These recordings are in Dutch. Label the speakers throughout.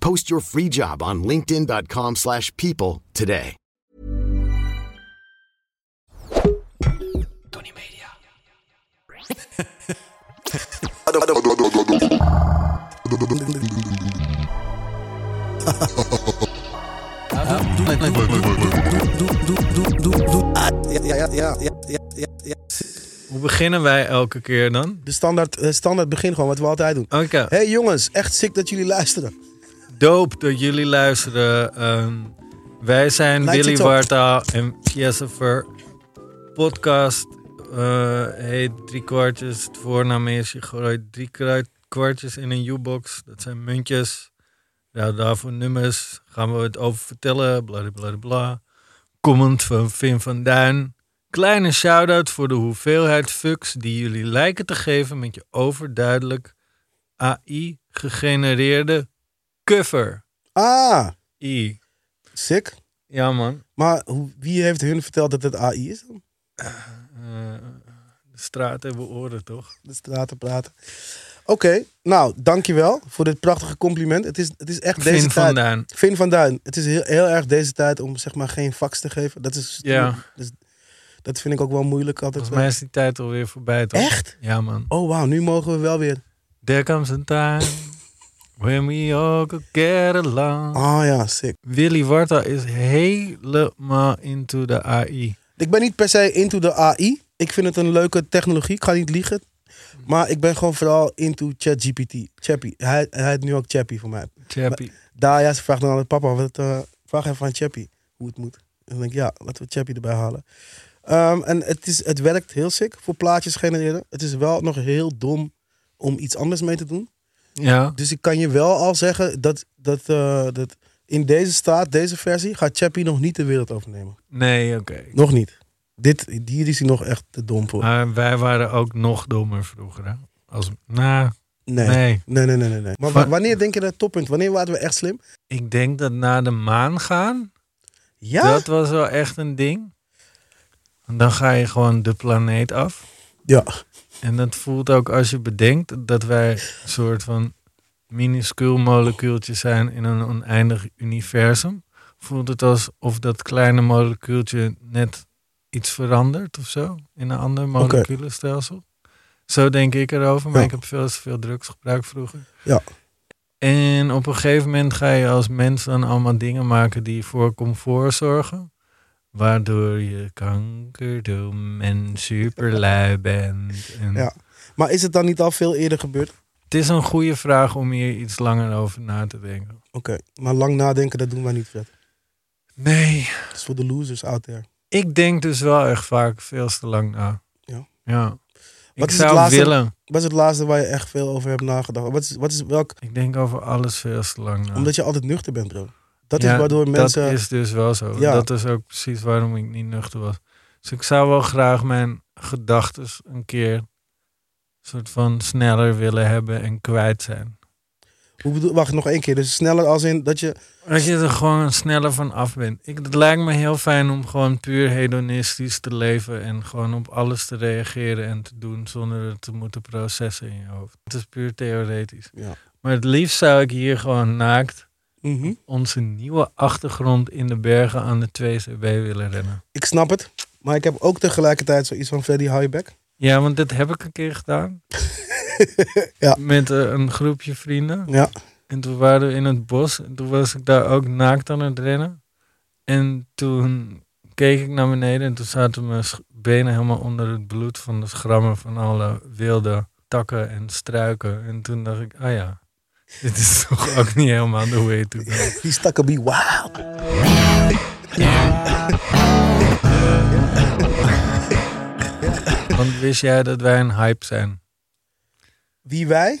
Speaker 1: Post your free job on linkedin.com slash people today.
Speaker 2: Tony Media.
Speaker 3: Hoe beginnen wij elke keer dan?
Speaker 4: De standaard, eh, standaard begin gewoon, wat we altijd doen.
Speaker 3: Oké.
Speaker 4: hey jongens, echt sick dat jullie luisteren.
Speaker 3: Doop dat jullie luisteren. Ehm, wij zijn
Speaker 4: Lijkt
Speaker 3: Willy
Speaker 4: het op.
Speaker 3: Wartaal en Jessifer. Podcast eh, heet Drie Kwartjes. Het voornaam is, je gooit drie kru- kwartjes in een U-box. Dat zijn muntjes. Ja, daarvoor nummers. Gaan we het over vertellen. Bladibladibla. Comment van Vin van Duin. Kleine shout-out voor de hoeveelheid fucks die jullie lijken te geven met je overduidelijk AI-gegenereerde cover.
Speaker 4: Ah,
Speaker 3: I.
Speaker 4: sick.
Speaker 3: Ja, man.
Speaker 4: Maar hoe- wie heeft hun verteld dat het AI is?
Speaker 3: Eh, de straat hebben oren, toch?
Speaker 4: De straten praten. Oké, nou, dankjewel voor dit prachtige compliment. Het is, het is echt deze
Speaker 3: Vin
Speaker 4: tijd.
Speaker 3: van Duin.
Speaker 4: Vin van Duin. Het is heel, heel erg deze tijd om zeg maar geen fax te geven. Dat, is,
Speaker 3: Ja.
Speaker 4: dus, dat vind ik ook wel moeilijk altijd.
Speaker 3: Volgens mij is die tijd alweer voorbij, toch?
Speaker 4: Echt?
Speaker 3: Ja, man.
Speaker 4: Oh wauw, nu mogen we wel weer.
Speaker 3: There comes a time when we all could get along.
Speaker 4: Ah ja, sick.
Speaker 3: Willy Warta is helemaal into de AI.
Speaker 4: Ik ben niet per se into de AI. Ik vind het een leuke technologie, ik ga niet liegen. Maar ik ben gewoon vooral into ChatGPT. Chappie. Hij, hij heet nu ook Chappie voor mij.
Speaker 3: Chappie.
Speaker 4: Daar, ja, ze vraagt dan altijd papa, wat, eh, vraag even aan Chappie hoe het moet. En dan denk ik, ja, laten we Chappie erbij halen. Ehm, en het, is, het werkt heel sick voor plaatjes genereren. Het is wel nog heel dom om iets anders mee te doen.
Speaker 3: Ja.
Speaker 4: Dus ik kan je wel al zeggen dat, dat, eh, dat in deze staat, deze versie, gaat Chappie nog niet de wereld overnemen.
Speaker 3: Nee, oké.
Speaker 4: Nog niet. Dit, hier is hij nog echt te dom voor.
Speaker 3: Maar wij waren ook nog dommer vroeger, hè? Als, nou,
Speaker 4: Nee.
Speaker 3: Nee.
Speaker 4: Nee, nee, nee, nee. nee. Maar wa- wanneer denk je dat toppunt? Wanneer waren we echt slim?
Speaker 3: ik denk dat na de maan gaan,
Speaker 4: Ja?
Speaker 3: dat was wel echt een ding. Want dan ga je gewoon de planeet af.
Speaker 4: Ja.
Speaker 3: En dat voelt ook als je bedenkt dat wij een soort van minuscuul molecuultjes zijn in een oneindig universum. Voelt het alsof dat kleine molecuultje net iets verandert of zo in een ander moleculenstelsel. Zo denk ik erover, maar
Speaker 4: Ja.
Speaker 3: ik heb veel te veel drugs gebruikt vroeger.
Speaker 4: Ja.
Speaker 3: En op een gegeven moment ga je als mens dan allemaal dingen maken die voor comfort zorgen. Waardoor je kankerdom en superlui bent. En
Speaker 4: Ja. Maar is het dan niet al veel eerder gebeurd? Oké.
Speaker 3: Het is een goede vraag om hier iets langer over na te denken.
Speaker 4: Maar lang nadenken, dat doen wij niet, Fred.
Speaker 3: Nee.
Speaker 4: Dat is voor de losers out there.
Speaker 3: Ik denk dus wel echt vaak veel te lang na.
Speaker 4: Ja.
Speaker 3: ja. Ik
Speaker 4: is het
Speaker 3: zou
Speaker 4: laatste-
Speaker 3: willen.
Speaker 4: Wat is het laatste waar je echt veel over hebt nagedacht? Wat is, wat is welk?
Speaker 3: Ik denk over alles veel te lang na.
Speaker 4: Omdat je altijd nuchter bent, bro. Dat
Speaker 3: Ja,
Speaker 4: is waardoor mensen...
Speaker 3: Dat is dus wel zo.
Speaker 4: Ja.
Speaker 3: Dat is ook precies waarom ik niet nuchter was. Dus ik zou wel graag mijn gedachten een keer soort van sneller willen hebben en kwijt zijn.
Speaker 4: Hoe bedoel, wacht, nog één keer. Dus sneller als in dat je...
Speaker 3: Dat je er gewoon sneller van af bent. Ik, het lijkt me heel fijn om gewoon puur hedonistisch te leven en gewoon op alles te reageren en te doen zonder het te moeten processen in je hoofd. Het is puur theoretisch.
Speaker 4: Ja.
Speaker 3: Maar het liefst zou ik hier gewoon naakt
Speaker 4: Mhm.
Speaker 3: onze nieuwe achtergrond in de bergen aan de 2CB willen rennen.
Speaker 4: Ik snap het. Maar ik heb ook tegelijkertijd zoiets van Freddy Highback.
Speaker 3: Ja, want dat heb ik een keer gedaan.
Speaker 4: Ja.
Speaker 3: Met eh, een groepje vrienden.
Speaker 4: Ja.
Speaker 3: En toen waren we in het bos. En toen was ik daar ook naakt aan het rennen. En toen keek ik naar beneden en toen zaten mijn sch- benen helemaal onder het bloed van de schrammen van alle wilde takken en struiken. En toen dacht ik, ah ja, dit is toch ook niet helemaal de way to go.
Speaker 4: Die stakken be wow.
Speaker 3: Want wist jij dat wij een hype zijn?
Speaker 4: Wie wij?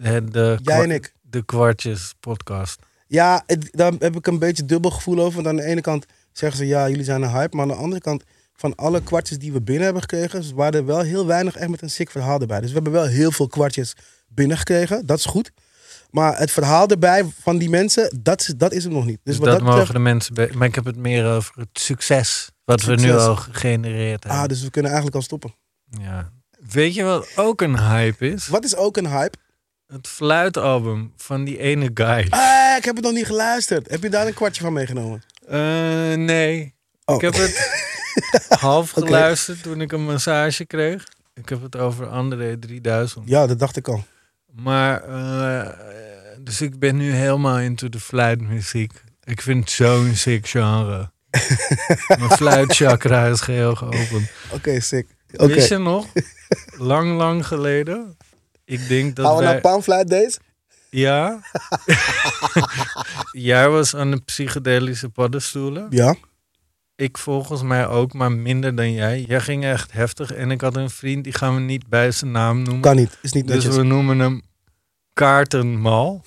Speaker 3: Het, de,
Speaker 4: Jij en ik. Dus
Speaker 3: De Kwartjes podcast.
Speaker 4: Ja, het- daar heb ik een beetje dubbel gevoel over. Want aan de ene kant zeggen ze ja, jullie zijn een hype. Maar aan de andere kant, van alle kwartjes die we binnen hebben gekregen, waren er wel heel weinig echt met een sick verhaal erbij. Dus we hebben wel heel veel kwartjes binnengekregen. Dat is goed. Maar het verhaal erbij van die mensen, dat, is- dat is hem nog niet. Dus,
Speaker 3: Dus
Speaker 4: wat
Speaker 3: dat,
Speaker 4: dat
Speaker 3: mogen
Speaker 4: betreft,
Speaker 3: de mensen... be- Maar ik heb het meer over het succes wat we nu
Speaker 4: Succes.
Speaker 3: al gegenereerd hebben.
Speaker 4: ah, dus we kunnen eigenlijk al stoppen.
Speaker 3: ja. Weet je wat ook een hype is?
Speaker 4: Wat is ook een hype?
Speaker 3: Het fluitalbum van die ene guy.
Speaker 4: Ah, ik heb het nog niet geluisterd. Heb je daar een kwartje van meegenomen?
Speaker 3: Eh, nee.
Speaker 4: Oh.
Speaker 3: Ik heb het half
Speaker 4: Oké.
Speaker 3: geluisterd toen ik een massage kreeg. Ik heb het over André 3000.
Speaker 4: Ja, dat dacht ik al.
Speaker 3: Maar, eh, dus ik ben nu helemaal into de fluitmuziek. Ik vind het zo'n sick genre. Mijn fluitchakra is geheel geopend.
Speaker 4: Oké, sick. Oké.
Speaker 3: Wist je nog? Lang, lang geleden. Ik denk dat
Speaker 4: Gaan we
Speaker 3: wij...
Speaker 4: naar Panflight Days?
Speaker 3: Ja. Jij was aan de psychedelische paddenstoelen.
Speaker 4: Ja.
Speaker 3: Ik volgens mij ook, maar minder dan jij. Jij ging echt heftig. En ik had een vriend, die gaan we niet bij zijn naam noemen.
Speaker 4: Kan niet. Is niet
Speaker 3: dus
Speaker 4: netjes.
Speaker 3: we noemen hem Kaartenmal.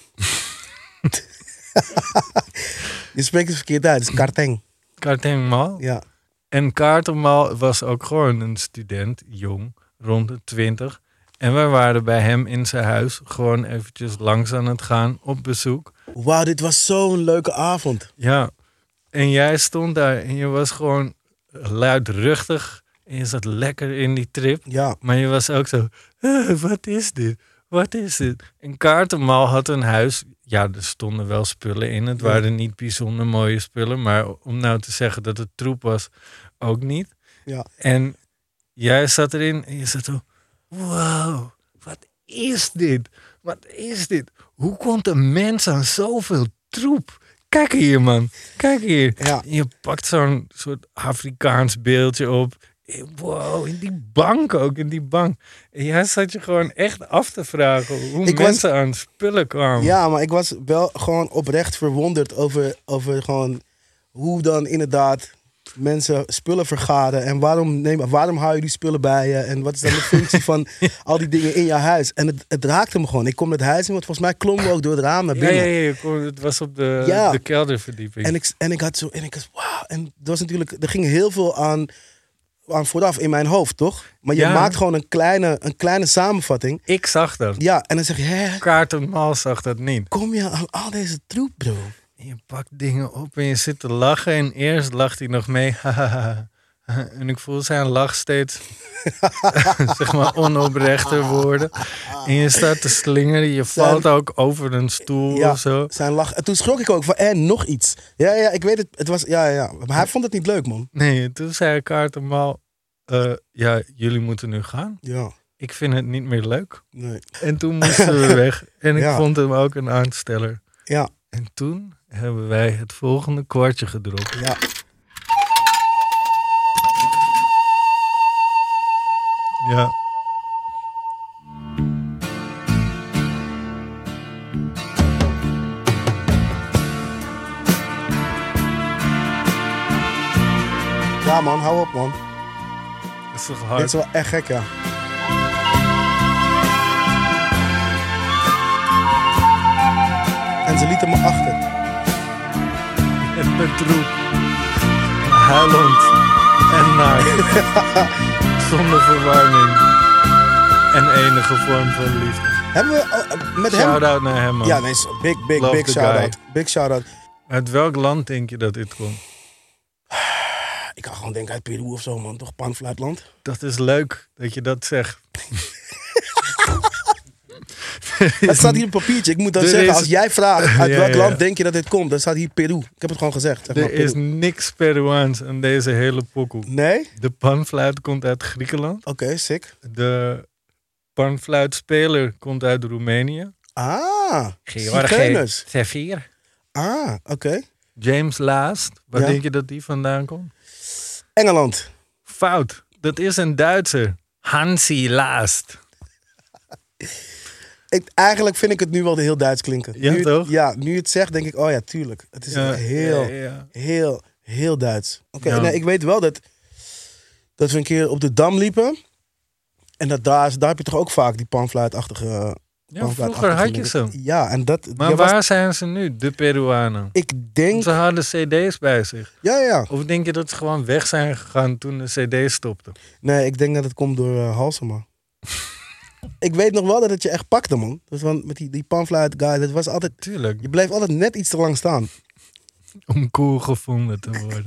Speaker 4: Je spreekt het verkeerd uit. Het is karteng.
Speaker 3: Kaartenmal.
Speaker 4: Ja.
Speaker 3: En Kaartenmal was ook gewoon een student, jong, rond de twintig. En wij waren bij hem in zijn huis gewoon eventjes langs aan het gaan op bezoek.
Speaker 4: Wauw, dit was zo'n leuke avond.
Speaker 3: Ja, en jij stond daar en je was gewoon luidruchtig. En je zat lekker in die trip.
Speaker 4: Ja.
Speaker 3: Maar je was ook zo, "Eh, wat is dit? Wat is dit? En Kaartenmal had een huis. Ja, er stonden wel spullen in. Het waren niet bijzonder mooie spullen. Maar om nou te zeggen dat het troep was, ook niet.
Speaker 4: Ja.
Speaker 3: En jij zat erin en je zat zo, wow, wat is dit? Wat is dit? Hoe komt een mens aan zoveel troep? Kijk hier, man. Kijk hier.
Speaker 4: Ja.
Speaker 3: Je pakt zo'n soort Afrikaans beeldje op. Eh, Wow, in die bank ook, in die bank. En jij zat je gewoon echt af te vragen hoe
Speaker 4: Ik was-
Speaker 3: mensen aan spullen kwamen.
Speaker 4: Ja, maar ik was wel gewoon oprecht verwonderd over, over gewoon hoe dan inderdaad mensen spullen vergaren. En waarom, neem, waarom hou je die spullen bij je? En wat is dan de functie van al die dingen in je huis? En het, het raakte me gewoon. Ik kom het huis in, want volgens mij klommen we ook door het raam naar
Speaker 3: ja,
Speaker 4: binnen.
Speaker 3: ja, ja, je kon- het was op de,
Speaker 4: Ja.
Speaker 3: de kelderverdieping.
Speaker 4: En ik, en ik had zo, en ik was, wauw. En er was natuurlijk, er ging heel veel aan, aan vooraf in mijn hoofd, toch? Maar je
Speaker 3: Ja.
Speaker 4: maakt gewoon een kleine, een kleine samenvatting.
Speaker 3: Ik zag dat.
Speaker 4: Ja, en dan zeg je, hè,
Speaker 3: Kaartenmal zag dat niet.
Speaker 4: kom je aan al deze troep, bro?
Speaker 3: En je pakt dingen op en je zit te lachen. En eerst lacht hij nog mee. en ik voel zijn lach steeds, zeg maar, onoprechter worden. En je staat te slingeren. Je valt ook over een stoel
Speaker 4: Ja,
Speaker 3: of zo.
Speaker 4: zijn lach. En toen schrok ik ook van, en nog iets. Ja, ja, ik weet het. Het was, ja, ja, ja. Maar hij vond het niet leuk, man.
Speaker 3: Nee, toen zei Kaartenmal... eh ja, jullie moeten nu gaan.
Speaker 4: Ja,
Speaker 3: Ik vind het niet meer leuk.
Speaker 4: nee.
Speaker 3: En toen moesten we weg. En ik
Speaker 4: Ja.
Speaker 3: vond hem ook een aansteller.
Speaker 4: Ja,
Speaker 3: En toen hebben wij het volgende kwartje gedropt.
Speaker 4: ja.
Speaker 3: Ja.
Speaker 4: Ja, man, hou op, man.
Speaker 3: Dat is toch
Speaker 4: Dit is
Speaker 3: hard?
Speaker 4: wel echt gek, ja. En ze lieten me achter.
Speaker 3: En met troep. Huilend. En naakt. Zonder verwarming. En enige vorm van liefde.
Speaker 4: Hebben we oh, eh, met hem...
Speaker 3: Shout-out naar hem, man.
Speaker 4: Ja, nee, so- big, big,
Speaker 3: Love
Speaker 4: big
Speaker 3: the
Speaker 4: shout-out. Big shout-out.
Speaker 3: Uit welk land denk je dat dit komt?
Speaker 4: Ik kan gewoon denken uit Peru of zo, man. Toch panfluitland?
Speaker 3: Dat is leuk dat je dat zegt.
Speaker 4: Het staat hier op papiertje. Ik moet dan
Speaker 3: Er
Speaker 4: zeggen,
Speaker 3: is-
Speaker 4: als jij vraagt uit
Speaker 3: Ja,
Speaker 4: welk
Speaker 3: ja, ja.
Speaker 4: land denk je dat dit komt, dan staat hier Peru. Ik heb het gewoon gezegd. Zeg maar,
Speaker 3: Er is
Speaker 4: Peru.
Speaker 3: niks Peruaans aan deze hele pokoe.
Speaker 4: Nee? Oké,
Speaker 3: De panfluit komt uit Griekenland.
Speaker 4: sick.
Speaker 3: De panfluitspeler komt uit Roemenië.
Speaker 4: Ah, zigeuners.
Speaker 3: Sevier.
Speaker 4: Ah, oké.
Speaker 3: James Laast. Waar
Speaker 4: Ja.
Speaker 3: denk je dat die vandaan komt?
Speaker 4: Engeland.
Speaker 3: Fout. Dat is een Duitser. Hansi Laast.
Speaker 4: Ik, eigenlijk vind ik het nu wel heel Duits klinken.
Speaker 3: Ja,
Speaker 4: nu, het-
Speaker 3: toch?
Speaker 4: Ja, nu je het zegt, denk ik, oh ja, tuurlijk. Het is
Speaker 3: Ja,
Speaker 4: heel,
Speaker 3: ja, ja.
Speaker 4: heel, heel Duits. Oké,
Speaker 3: Ja.
Speaker 4: nee, ik weet wel dat, dat we een keer op de Dam liepen. En dat daar, is- daar heb je toch ook vaak die panfluitachtige...
Speaker 3: Ja,
Speaker 4: panfluitachtige
Speaker 3: vroeger had je
Speaker 4: dingen.
Speaker 3: ze.
Speaker 4: Ja, en dat...
Speaker 3: Maar
Speaker 4: jij was-
Speaker 3: waar zijn ze nu, de Peruanen?
Speaker 4: ik denk...
Speaker 3: Ze hadden cd's bij zich.
Speaker 4: Ja, ja, ja.
Speaker 3: Of denk je dat ze gewoon weg zijn gegaan toen de cd stopte?
Speaker 4: Nee, ik denk dat het komt door eh, Halsema. ik weet nog wel dat het je echt pakte, man. Dus want met die, die panfluit guy, dat was altijd...
Speaker 3: Tuurlijk,
Speaker 4: Je bleef altijd net iets te lang staan.
Speaker 3: om cool gevonden te worden.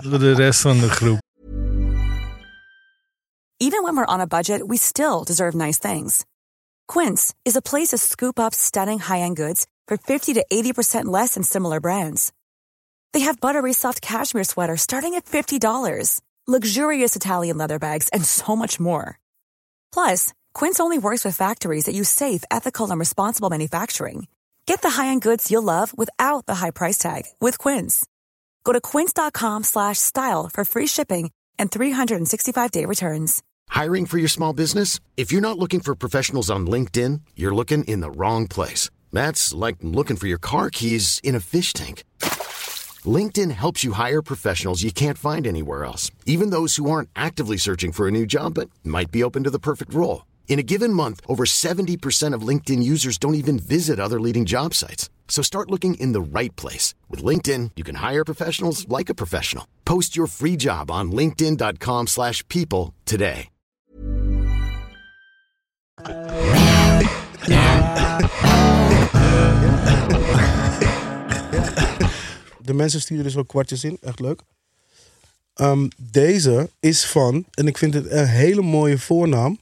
Speaker 3: door de rest van de groep.
Speaker 2: Even when we're on a budget, we still deserve nice things. Quince is a place to scoop up stunning high end goods for 50 to 80% less than similar brands. They have buttery soft cashmere sweaters starting at $50, luxurious Italian leather bags, and so much more. Plus, Quince only works with factories that use safe, ethical, and responsible manufacturing. Get the high-end goods you'll love without the high price tag with Quince. Go to quince.com/style slash style for free shipping and 365-day returns.
Speaker 1: Hiring for your small business? If you're not looking for professionals on LinkedIn, you're looking in the wrong place. That's like looking for your car keys in a fish tank. LinkedIn helps you hire professionals you can't find anywhere else, even those who aren't actively searching for a new job but might be open to the perfect role. In a given month, over 70% of LinkedIn users don't even visit other leading job sites. So start looking in the right place. With LinkedIn, you can hire professionals like a professional. Post your free job on linkedin.com/people slash people today.
Speaker 4: De mensen sturen dus ook kwartjes in, echt leuk. Ehm, deze is van, en ik vind het een hele mooie voornaam.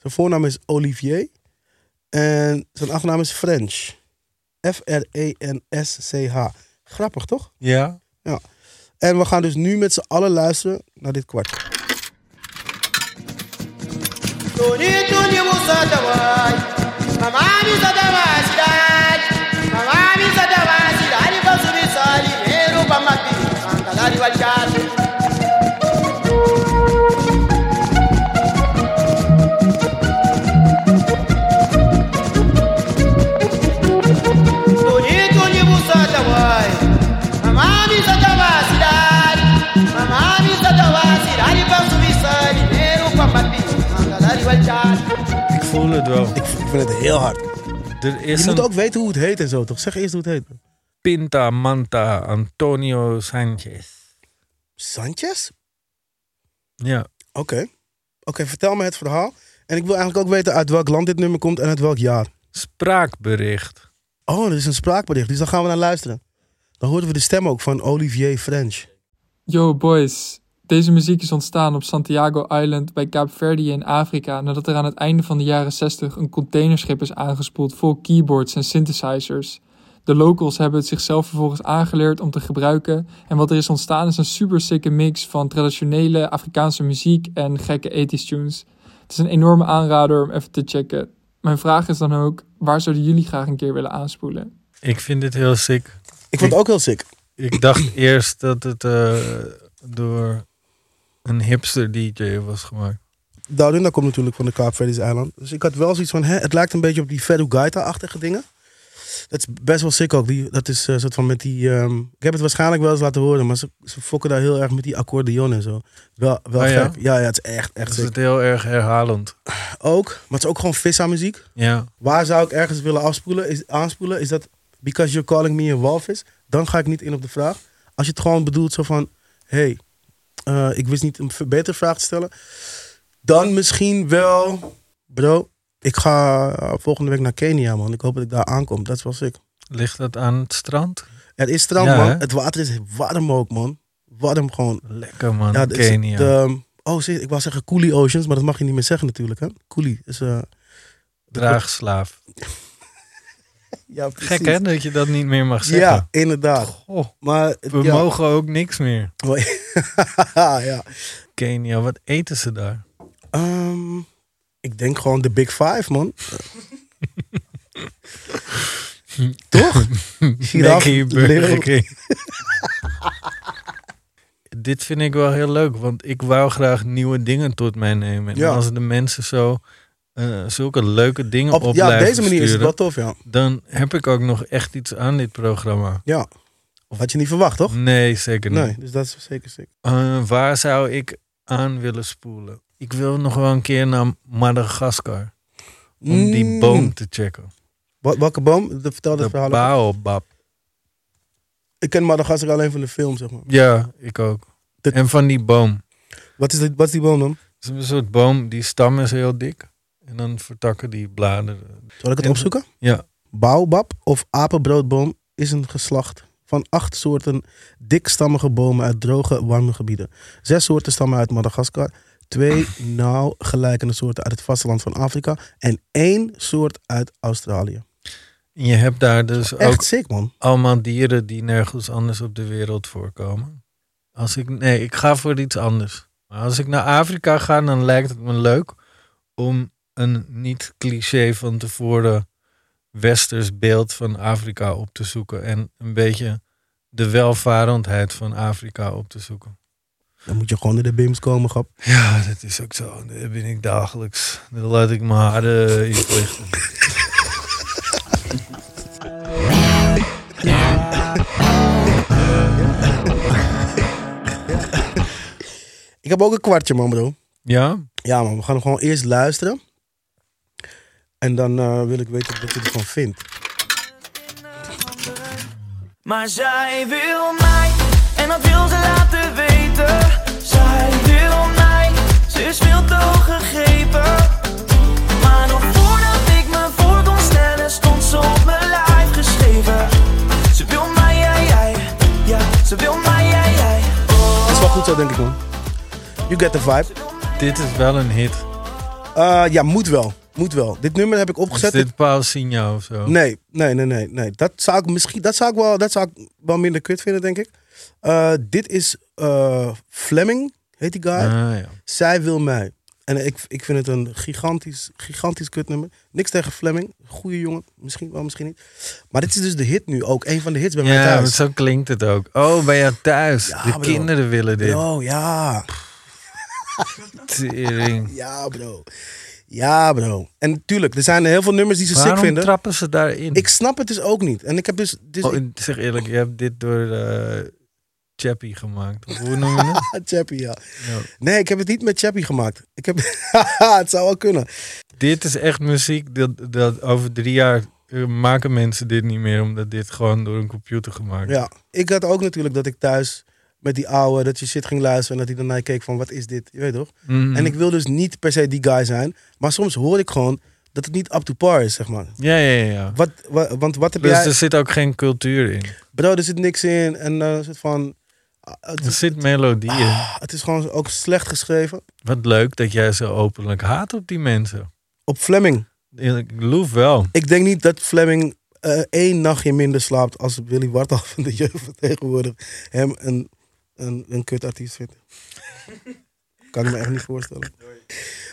Speaker 4: Zijn voornaam is Olivier en zijn achternaam is French. E F-R-E-N-S-C-H. Grappig, toch?
Speaker 3: Ja?
Speaker 4: Ja. En we gaan dus nu met z'n allen luisteren naar dit kwartje.
Speaker 3: Ik voel het wel.
Speaker 4: Ik vind ik vind het heel hard.
Speaker 3: Er is
Speaker 4: Je moet
Speaker 3: een
Speaker 4: ook weten hoe het heet en zo, toch? Zeg eerst hoe het heet.
Speaker 3: Pinta Manta Antonio Sanchez.
Speaker 4: Sanchez?
Speaker 3: Ja.
Speaker 4: Oké. Oké, vertel me het verhaal. En ik wil eigenlijk ook weten uit welk land dit nummer komt en uit welk jaar.
Speaker 3: Spraakbericht.
Speaker 4: Oh, er is een spraakbericht, dus dan gaan we naar luisteren. Dan horen we de stem ook van Olivier French.
Speaker 5: Yo boys, deze muziek is ontstaan op Santiago Island bij Kaapverdië in Afrika nadat er aan het einde van de jaren 60 een containerschip is aangespoeld vol keyboards en synthesizers. De locals hebben het zichzelf vervolgens aangeleerd om te gebruiken en wat er is ontstaan is een super sicke mix van traditionele Afrikaanse muziek en gekke 80s tunes. Het is een enorme aanrader om even te checken. Mijn vraag is dan ook, waar zouden jullie graag een keer willen aanspoelen?
Speaker 3: Ik vind dit heel sick.
Speaker 4: Ik vond het ook heel sick.
Speaker 3: Ik dacht eerst dat het eh, door een hipster DJ was gemaakt.
Speaker 4: Daarin dat komt natuurlijk van de Kaapverdische eiland. Dus ik had wel zoiets van, hè, het lijkt een beetje op die Ferrugaita-achtige dingen. Dat is best wel sick ook. Die, dat is eh, soort van met die... ehm, ik heb het waarschijnlijk wel eens laten horen, maar ze, ze fokken daar heel erg met die accordeon en zo. Wel, wel
Speaker 3: Ah, ja?
Speaker 4: gek. Ja, ja, het is echt, echt
Speaker 3: Dus
Speaker 4: sick.
Speaker 3: het heel erg herhalend.
Speaker 4: Ook, maar het is ook gewoon vissa-muziek.
Speaker 3: Ja.
Speaker 4: Waar zou ik ergens willen afspoelen, is, aanspoelen? Is dat because you're calling me a walvis? Dan ga ik niet in op de vraag. Als je het gewoon bedoelt zo van... hey, eh, ik wist niet een betere vraag te stellen. Dan misschien wel... Bro, ik ga eh, volgende week naar Kenia, man. Ik hoop dat ik daar aankom. Dat is wel sick.
Speaker 3: Ligt dat aan het strand?
Speaker 4: Er is strand,
Speaker 3: Ja,
Speaker 4: man.
Speaker 3: hè?
Speaker 4: Het water is warm ook, man. Warm gewoon.
Speaker 3: Lekker man,
Speaker 4: Ja, het is
Speaker 3: Kenia.
Speaker 4: het, ehm, oh, zie- ik wou zeggen coolie oceans, maar dat mag je niet meer zeggen natuurlijk, hè. Coolie is... eh,
Speaker 3: Draagslaaf.
Speaker 4: ja,
Speaker 3: Gek hè, dat je dat niet meer mag zeggen.
Speaker 4: Ja, inderdaad.
Speaker 3: Goh,
Speaker 4: Maar,
Speaker 3: we
Speaker 4: ja.
Speaker 3: mogen ook niks meer.
Speaker 4: ja.
Speaker 3: Kenia, wat eten ze daar?
Speaker 4: Ehm, ik denk gewoon de Big Five, man. Toch? Giraf,
Speaker 3: Mackey, Burger
Speaker 4: leeuw.
Speaker 3: King. Dit vind ik wel heel leuk, want ik wou graag nieuwe dingen tot mij nemen. En
Speaker 4: Ja.
Speaker 3: als de mensen zo eh, zulke leuke dingen op,
Speaker 4: Op, ja, op deze manier is het
Speaker 3: sturen,
Speaker 4: wel tof, ja.
Speaker 3: dan heb ik ook nog echt iets aan dit programma.
Speaker 4: Ja. Had je niet verwacht, toch?
Speaker 3: Nee, zeker niet.
Speaker 4: Nee, dus dat is zeker sick.
Speaker 3: Eh, waar zou ik aan willen spoelen? Ik wil nog wel een keer naar Madagaskar. Om die
Speaker 4: Mm.
Speaker 3: boom te checken.
Speaker 4: Wa- welke boom? De, vertel dat
Speaker 3: De
Speaker 4: verhaal.
Speaker 3: baobab.
Speaker 4: Ik ken Madagaskar alleen van de film, zeg maar.
Speaker 3: Ja, ik ook.
Speaker 4: De-
Speaker 3: En van die boom.
Speaker 4: Wat is, dit, wat is die boom dan?
Speaker 3: Het is een soort boom, die stam is heel dik. En dan vertakken die bladeren.
Speaker 4: Zal ik het
Speaker 3: En-
Speaker 4: opzoeken?
Speaker 3: Ja,
Speaker 4: Baobab of apenbroodboom is een geslacht van acht soorten dikstammige bomen uit droge, warme gebieden. Zes soorten stammen uit Madagaskar, twee nauw gelijkende soorten uit het vasteland van Afrika en één soort uit Australië.
Speaker 3: en je hebt daar dus
Speaker 4: Echt
Speaker 3: ook
Speaker 4: sick, man.
Speaker 3: allemaal dieren die nergens anders op de wereld voorkomen. Als ik, nee, ik ga voor iets anders. Maar als ik naar Afrika ga, dan lijkt het me leuk om een niet cliché van tevoren westers beeld van Afrika op te zoeken. En een beetje de welvarendheid van Afrika op te zoeken.
Speaker 4: Dan moet je gewoon in de bims komen, grap.
Speaker 3: Ja, dat is ook zo. Daar ben ik dagelijks. Dan laat ik mijn haren in het licht.
Speaker 4: Ik heb ook een kwartje, man, bro.
Speaker 3: Ja?
Speaker 4: Ja, man, we gaan gewoon eerst luisteren. En dan eh, wil ik weten wat je ervan vindt.
Speaker 6: Maar zij wil mij en dat wil ze laten weten. Zij wil mij, ze is veel te hoog gegrepen. Maar nog voordat ik me voor kon stellen, stond ze op mijn lijf geschreven. Ze wil mij, jij, jij, ja, ze wil mij, jij, jij.
Speaker 4: Het is wel goed zo, denk ik, man. You get the vibe.
Speaker 3: Dit is wel een hit.
Speaker 4: Eh, ja, moet wel. Moet wel. Dit nummer heb ik
Speaker 3: Is
Speaker 4: opgezet.
Speaker 3: dit Paul Signa of zo?
Speaker 4: Nee, nee, nee, nee, nee. Dat zou ik misschien, dat zou ik wel, dat zou ik wel minder kut vinden, denk ik. Eh, dit is eh, Fleming, heet die guy.
Speaker 3: Ah, ja.
Speaker 4: Zij wil mij. En ik, ik vind het een gigantisch, gigantisch kutnummer. Niks tegen Fleming. Goeie jongen. Misschien wel, misschien niet. Maar dit is dus de hit nu ook. Een van de hits bij mij
Speaker 3: Ja,
Speaker 4: thuis.
Speaker 3: maar zo klinkt het ook. Oh, ben je thuis?
Speaker 4: Ja,
Speaker 3: de
Speaker 4: bro.
Speaker 3: kinderen willen dit.
Speaker 4: Bro, ja.
Speaker 3: Tering.
Speaker 4: Ja, bro. Ja, bro. En natuurlijk, er zijn heel veel nummers die ze
Speaker 3: Waarom
Speaker 4: sick vinden.
Speaker 3: trappen ze daarin?
Speaker 4: Ik snap het dus ook niet. En ik heb dus... dus
Speaker 3: Oh,
Speaker 4: ik-
Speaker 3: en zeg eerlijk, je hebt dit door eh, Chappie gemaakt. Of Hoe noem je het?
Speaker 4: Ah, Chappie, ja.
Speaker 3: Ja.
Speaker 4: Nee, ik heb het niet met Chappie gemaakt. Ik heb... het zou wel kunnen.
Speaker 3: dit is echt muziek dat, dat over drie jaar eh, maken mensen dit niet meer. Omdat dit gewoon door een computer gemaakt is.
Speaker 4: Ja. Ik had ook natuurlijk dat ik thuis met die ouwe, dat je shit ging luisteren en dat hij dan naar je keek van wat is dit? Je weet toch?
Speaker 3: Mhm.
Speaker 4: En ik wil dus niet per se die guy zijn. Maar soms hoor ik gewoon dat het niet up to par is, zeg maar.
Speaker 3: Ja, ja, ja. ja.
Speaker 4: Wat, wa- want wat heb
Speaker 3: Dus
Speaker 4: jij...
Speaker 3: er zit ook geen cultuur in.
Speaker 4: Bro, er zit niks in. En eh, een soort van... ah, het,
Speaker 3: Er
Speaker 4: is,
Speaker 3: zit melodie in.
Speaker 4: ah, het is gewoon ook slecht geschreven.
Speaker 3: Wat leuk dat jij zo openlijk haat op die mensen.
Speaker 4: Op Fleming.
Speaker 3: Ik loef wel.
Speaker 4: Ik denk niet dat Fleming eh, één nachtje minder slaapt als Willy Wartal van de jeugd van tegenwoordig hem een, een, een kutartiest vindt. kan ik me echt niet voorstellen.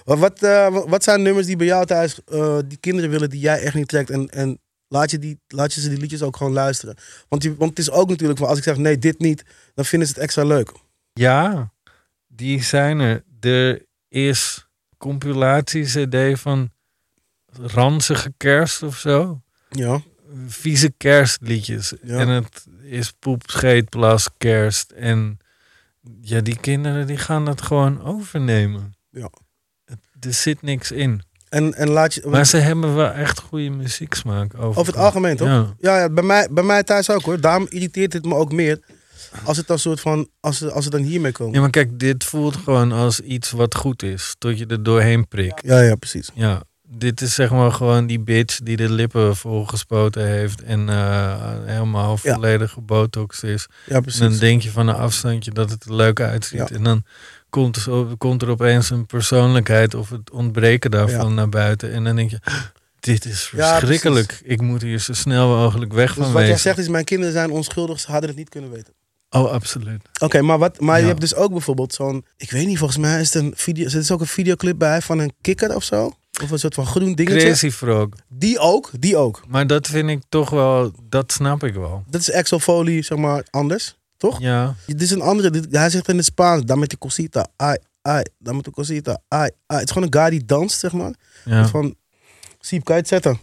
Speaker 4: Maar wat, eh, wa- wat zijn nummers die bij jou thuis eh, die kinderen willen die jij echt niet trekt? En, en laat, je die, laat je ze die liedjes ook gewoon luisteren. Want, die, want het is ook natuurlijk van als ik zeg nee, dit niet, dan vinden ze het extra leuk.
Speaker 3: Ja, die zijn er. Er is compilatie-cd van ranzige kerst of zo.
Speaker 4: Ja.
Speaker 3: Vieze kerstliedjes.
Speaker 4: Ja.
Speaker 3: En het is poep, scheet, plas, kerst. En ja, die kinderen die gaan dat gewoon overnemen.
Speaker 4: ja.
Speaker 3: Het- Er zit niks in.
Speaker 4: En, en laat je.
Speaker 3: Maar ze hebben wel echt goede muzieksmaak. Over,
Speaker 4: Over het algemeen, toch?
Speaker 3: Ja.
Speaker 4: Ja, ja, bij, mij, bij mij thuis ook hoor. Daarom irriteert het me ook meer. Als het dan soort van, als ze, als ze dan hiermee komen.
Speaker 3: Ja, maar kijk, dit voelt gewoon als iets wat goed is. Tot je er doorheen prikt.
Speaker 4: Ja, ja, precies.
Speaker 3: Ja, dit is zeg maar gewoon die bitch die de lippen volgespoten heeft en eh, helemaal
Speaker 4: Ja.
Speaker 3: volledig gebotoxed is.
Speaker 4: Ja,
Speaker 3: En
Speaker 4: precies. Dus
Speaker 3: dan denk je van een afstandje dat het er leuk uitziet.
Speaker 4: Ja.
Speaker 3: En dan komt er, zo- komt er opeens een persoonlijkheid of het ontbreken daarvan
Speaker 4: Ja.
Speaker 3: naar buiten. En dan denk je, dit is
Speaker 4: Ja,
Speaker 3: verschrikkelijk. Ik moet hier zo snel mogelijk weg
Speaker 4: Dus
Speaker 3: van
Speaker 4: wat jij
Speaker 3: wezen.
Speaker 4: zegt is, mijn kinderen zijn onschuldig, ze hadden het niet kunnen weten.
Speaker 3: Oh, absoluut.
Speaker 4: Oké, maar, wat, maar
Speaker 3: Ja.
Speaker 4: je hebt dus ook bijvoorbeeld zo'n... Ik weet niet, volgens mij is het een video... Er is ook een videoclip bij van een kikker of zo. Of een soort van groen dingetje.
Speaker 3: Crazy Frog.
Speaker 4: Die ook, die ook.
Speaker 3: Maar dat vind ik toch wel, dat snap ik wel.
Speaker 4: Dat is exofolie, zeg maar, anders. Toch?
Speaker 3: Ja.
Speaker 4: Dit is een andere. dit- hij zegt in het Spaans, dame tu cosita, ai, ai, dame tu cosita, ai, ai. Het is gewoon een guy die danst, zeg maar.
Speaker 3: ja.
Speaker 4: Van, Siep, kan je het zetten?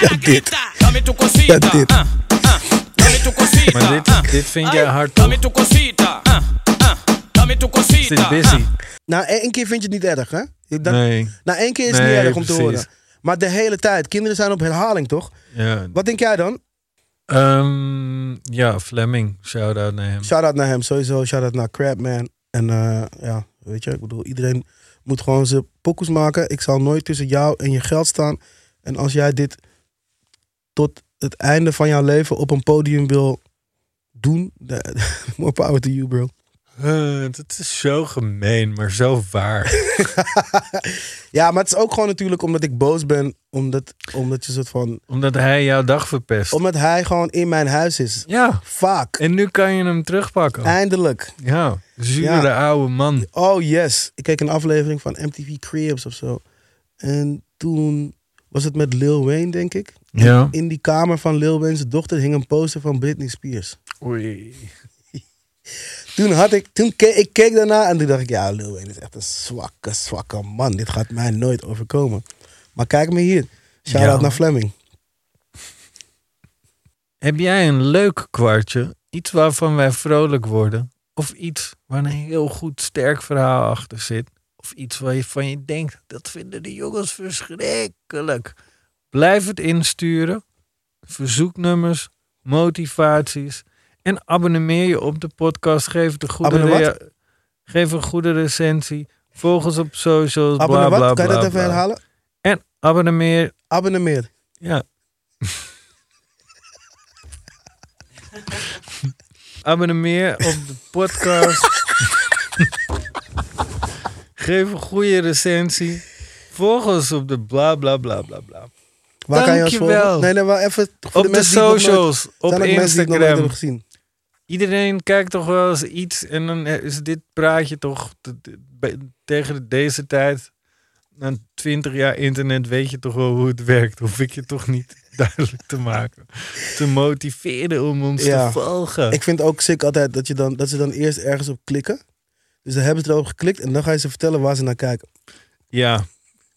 Speaker 4: Ja,
Speaker 6: a la
Speaker 4: dit.
Speaker 6: cripta. Dame tu cosita.
Speaker 4: Ja, dit.
Speaker 6: ah, ah. Dame tu cosita.
Speaker 3: Maar
Speaker 6: ah.
Speaker 3: dit, dit vind jij
Speaker 6: Ay,
Speaker 3: hard toch?
Speaker 6: Dame tu cosita. ah, ah. Dame tu
Speaker 3: Is dit
Speaker 6: cosita.
Speaker 3: busy?
Speaker 4: Na Nou, één keer vind je het niet erg, hè? Je- dat-
Speaker 3: Nee.
Speaker 4: Na één keer is het
Speaker 3: Nee,
Speaker 4: niet erg om te
Speaker 3: precies.
Speaker 4: horen. Maar de hele tijd. Kinderen zijn op herhaling, toch?
Speaker 3: Ja.
Speaker 4: Wat denk jij dan?
Speaker 3: Ehm, ja, Fleming. Shout-out naar hem.
Speaker 4: Shout-out naar hem sowieso. Shout-out naar Crabman. En eh, ja, weet je, ik bedoel, iedereen moet gewoon zijn pokoes maken. Ik zal nooit tussen jou en je geld staan. En als jij dit tot het einde van jouw leven op een podium wil doen, de- more power to you, bro.
Speaker 3: Eh, dat is zo gemeen, maar zo waar.
Speaker 4: Ja, maar het is ook gewoon natuurlijk omdat ik boos ben. Omdat, omdat, je soort van,
Speaker 3: Omdat hij jouw dag verpest.
Speaker 4: omdat hij gewoon in mijn huis is.
Speaker 3: Ja.
Speaker 4: Vaak.
Speaker 3: En nu kan je hem terugpakken.
Speaker 4: Eindelijk.
Speaker 3: Ja. Zure oude man.
Speaker 4: Oh yes. Ik keek een aflevering van MTV Cribs of zo. En toen was het met Lil Wayne, denk ik.
Speaker 3: Ja.
Speaker 4: In die kamer van Lil Wayne's dochter hing een poster van Britney Spears.
Speaker 3: Oei.
Speaker 4: Toen had ik, toen keek ik keek daarna en toen dacht ik, ja, Lil Wayne is echt een zwakke, zwakke man. Dit gaat mij nooit overkomen. Maar kijk me hier. Shout out
Speaker 3: Ja.
Speaker 4: naar Fleming.
Speaker 3: Heb jij een leuk kwartje? Iets waarvan wij vrolijk worden? Of iets waar een heel goed, sterk verhaal achter zit? Of iets waarvan je denkt, dat vinden de jongens verschrikkelijk. Blijf het insturen. Verzoeknummers, motivaties. En abonneer je op de podcast. Geef, het een goede
Speaker 4: Abonneer
Speaker 3: rea- geef een goede recensie. Volg ons op socials. Bla,
Speaker 4: Abonneer
Speaker 3: bla,
Speaker 4: wat? Kan je
Speaker 3: bla,
Speaker 4: dat even
Speaker 3: bla.
Speaker 4: herhalen?
Speaker 3: En abonneer.
Speaker 4: Abonneer meer.
Speaker 3: Ja. Abonneer op de podcast. Geef een goede recensie. Volg ons op de bla bla bla bla bla.
Speaker 4: Waar kan je ons
Speaker 3: Dankjewel.
Speaker 4: volgen? Nee, nee, maar even voor
Speaker 3: Op de,
Speaker 4: mensen die het nog nooit-
Speaker 3: socials, op
Speaker 4: zijn ook mensen die het nog nooit
Speaker 3: Instagram.
Speaker 4: hebben gezien.
Speaker 3: Iedereen kijkt toch wel eens iets en dan is dit praatje toch te- te- be- tegen deze tijd. Na 20 jaar internet weet je toch wel hoe het werkt. Hoef ik je toch niet duidelijk te maken. Te motiveren om ons
Speaker 4: Ja.
Speaker 3: te volgen.
Speaker 4: Ik vind ook sick altijd dat, je dan, dat ze dan eerst ergens op klikken. Dus dan hebben ze erop geklikt en dan ga je ze vertellen waar ze naar kijken.
Speaker 3: Ja,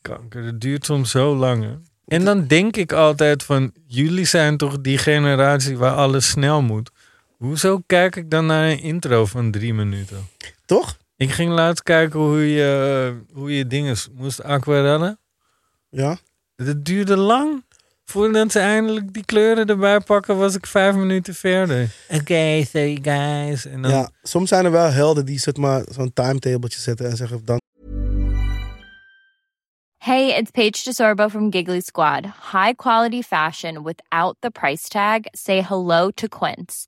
Speaker 3: kanker. Het duurt soms zo lang. hè. En dan denk ik altijd van, jullie zijn toch die generatie waar alles snel moet. Hoezo kijk ik dan naar een intro van drie minuten?
Speaker 4: Toch?
Speaker 3: Ik ging laatst kijken hoe je, eh, hoe je dingen moest aquarellen.
Speaker 4: Ja.
Speaker 3: Het duurde lang. Voordat ze eindelijk die kleuren erbij pakken, was ik vijf minuten verder. Oké, sorry guys. En dan,
Speaker 4: ja. Soms zijn er wel helden die zeg maar, zo'n timetabletje zetten en zeggen dan
Speaker 7: Hey, it's Paige DeSorbo from Giggly Squad. High quality fashion without the price tag. Say hello to Quince.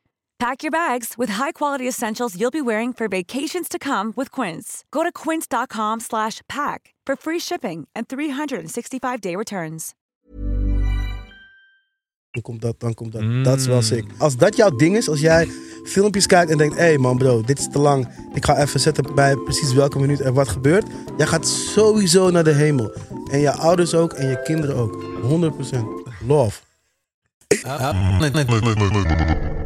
Speaker 2: Pack your bags with high-quality essentials you'll be wearing for vacations to come with Quince. Go to quince.com/pack slash pack for free shipping and 365-day returns.
Speaker 4: dan komt dat, dan komt dat.
Speaker 3: Mm.
Speaker 4: Dat is wel sick. Als dat jouw ding is, als jij filmpjes kijkt en denkt... Hé hey man bro, dit is te lang. Ik ga even zetten bij precies welke minuut er wat gebeurt. Jij gaat sowieso naar de hemel. En je ouders ook en je kinderen ook. 100%. Love.
Speaker 3: Ah.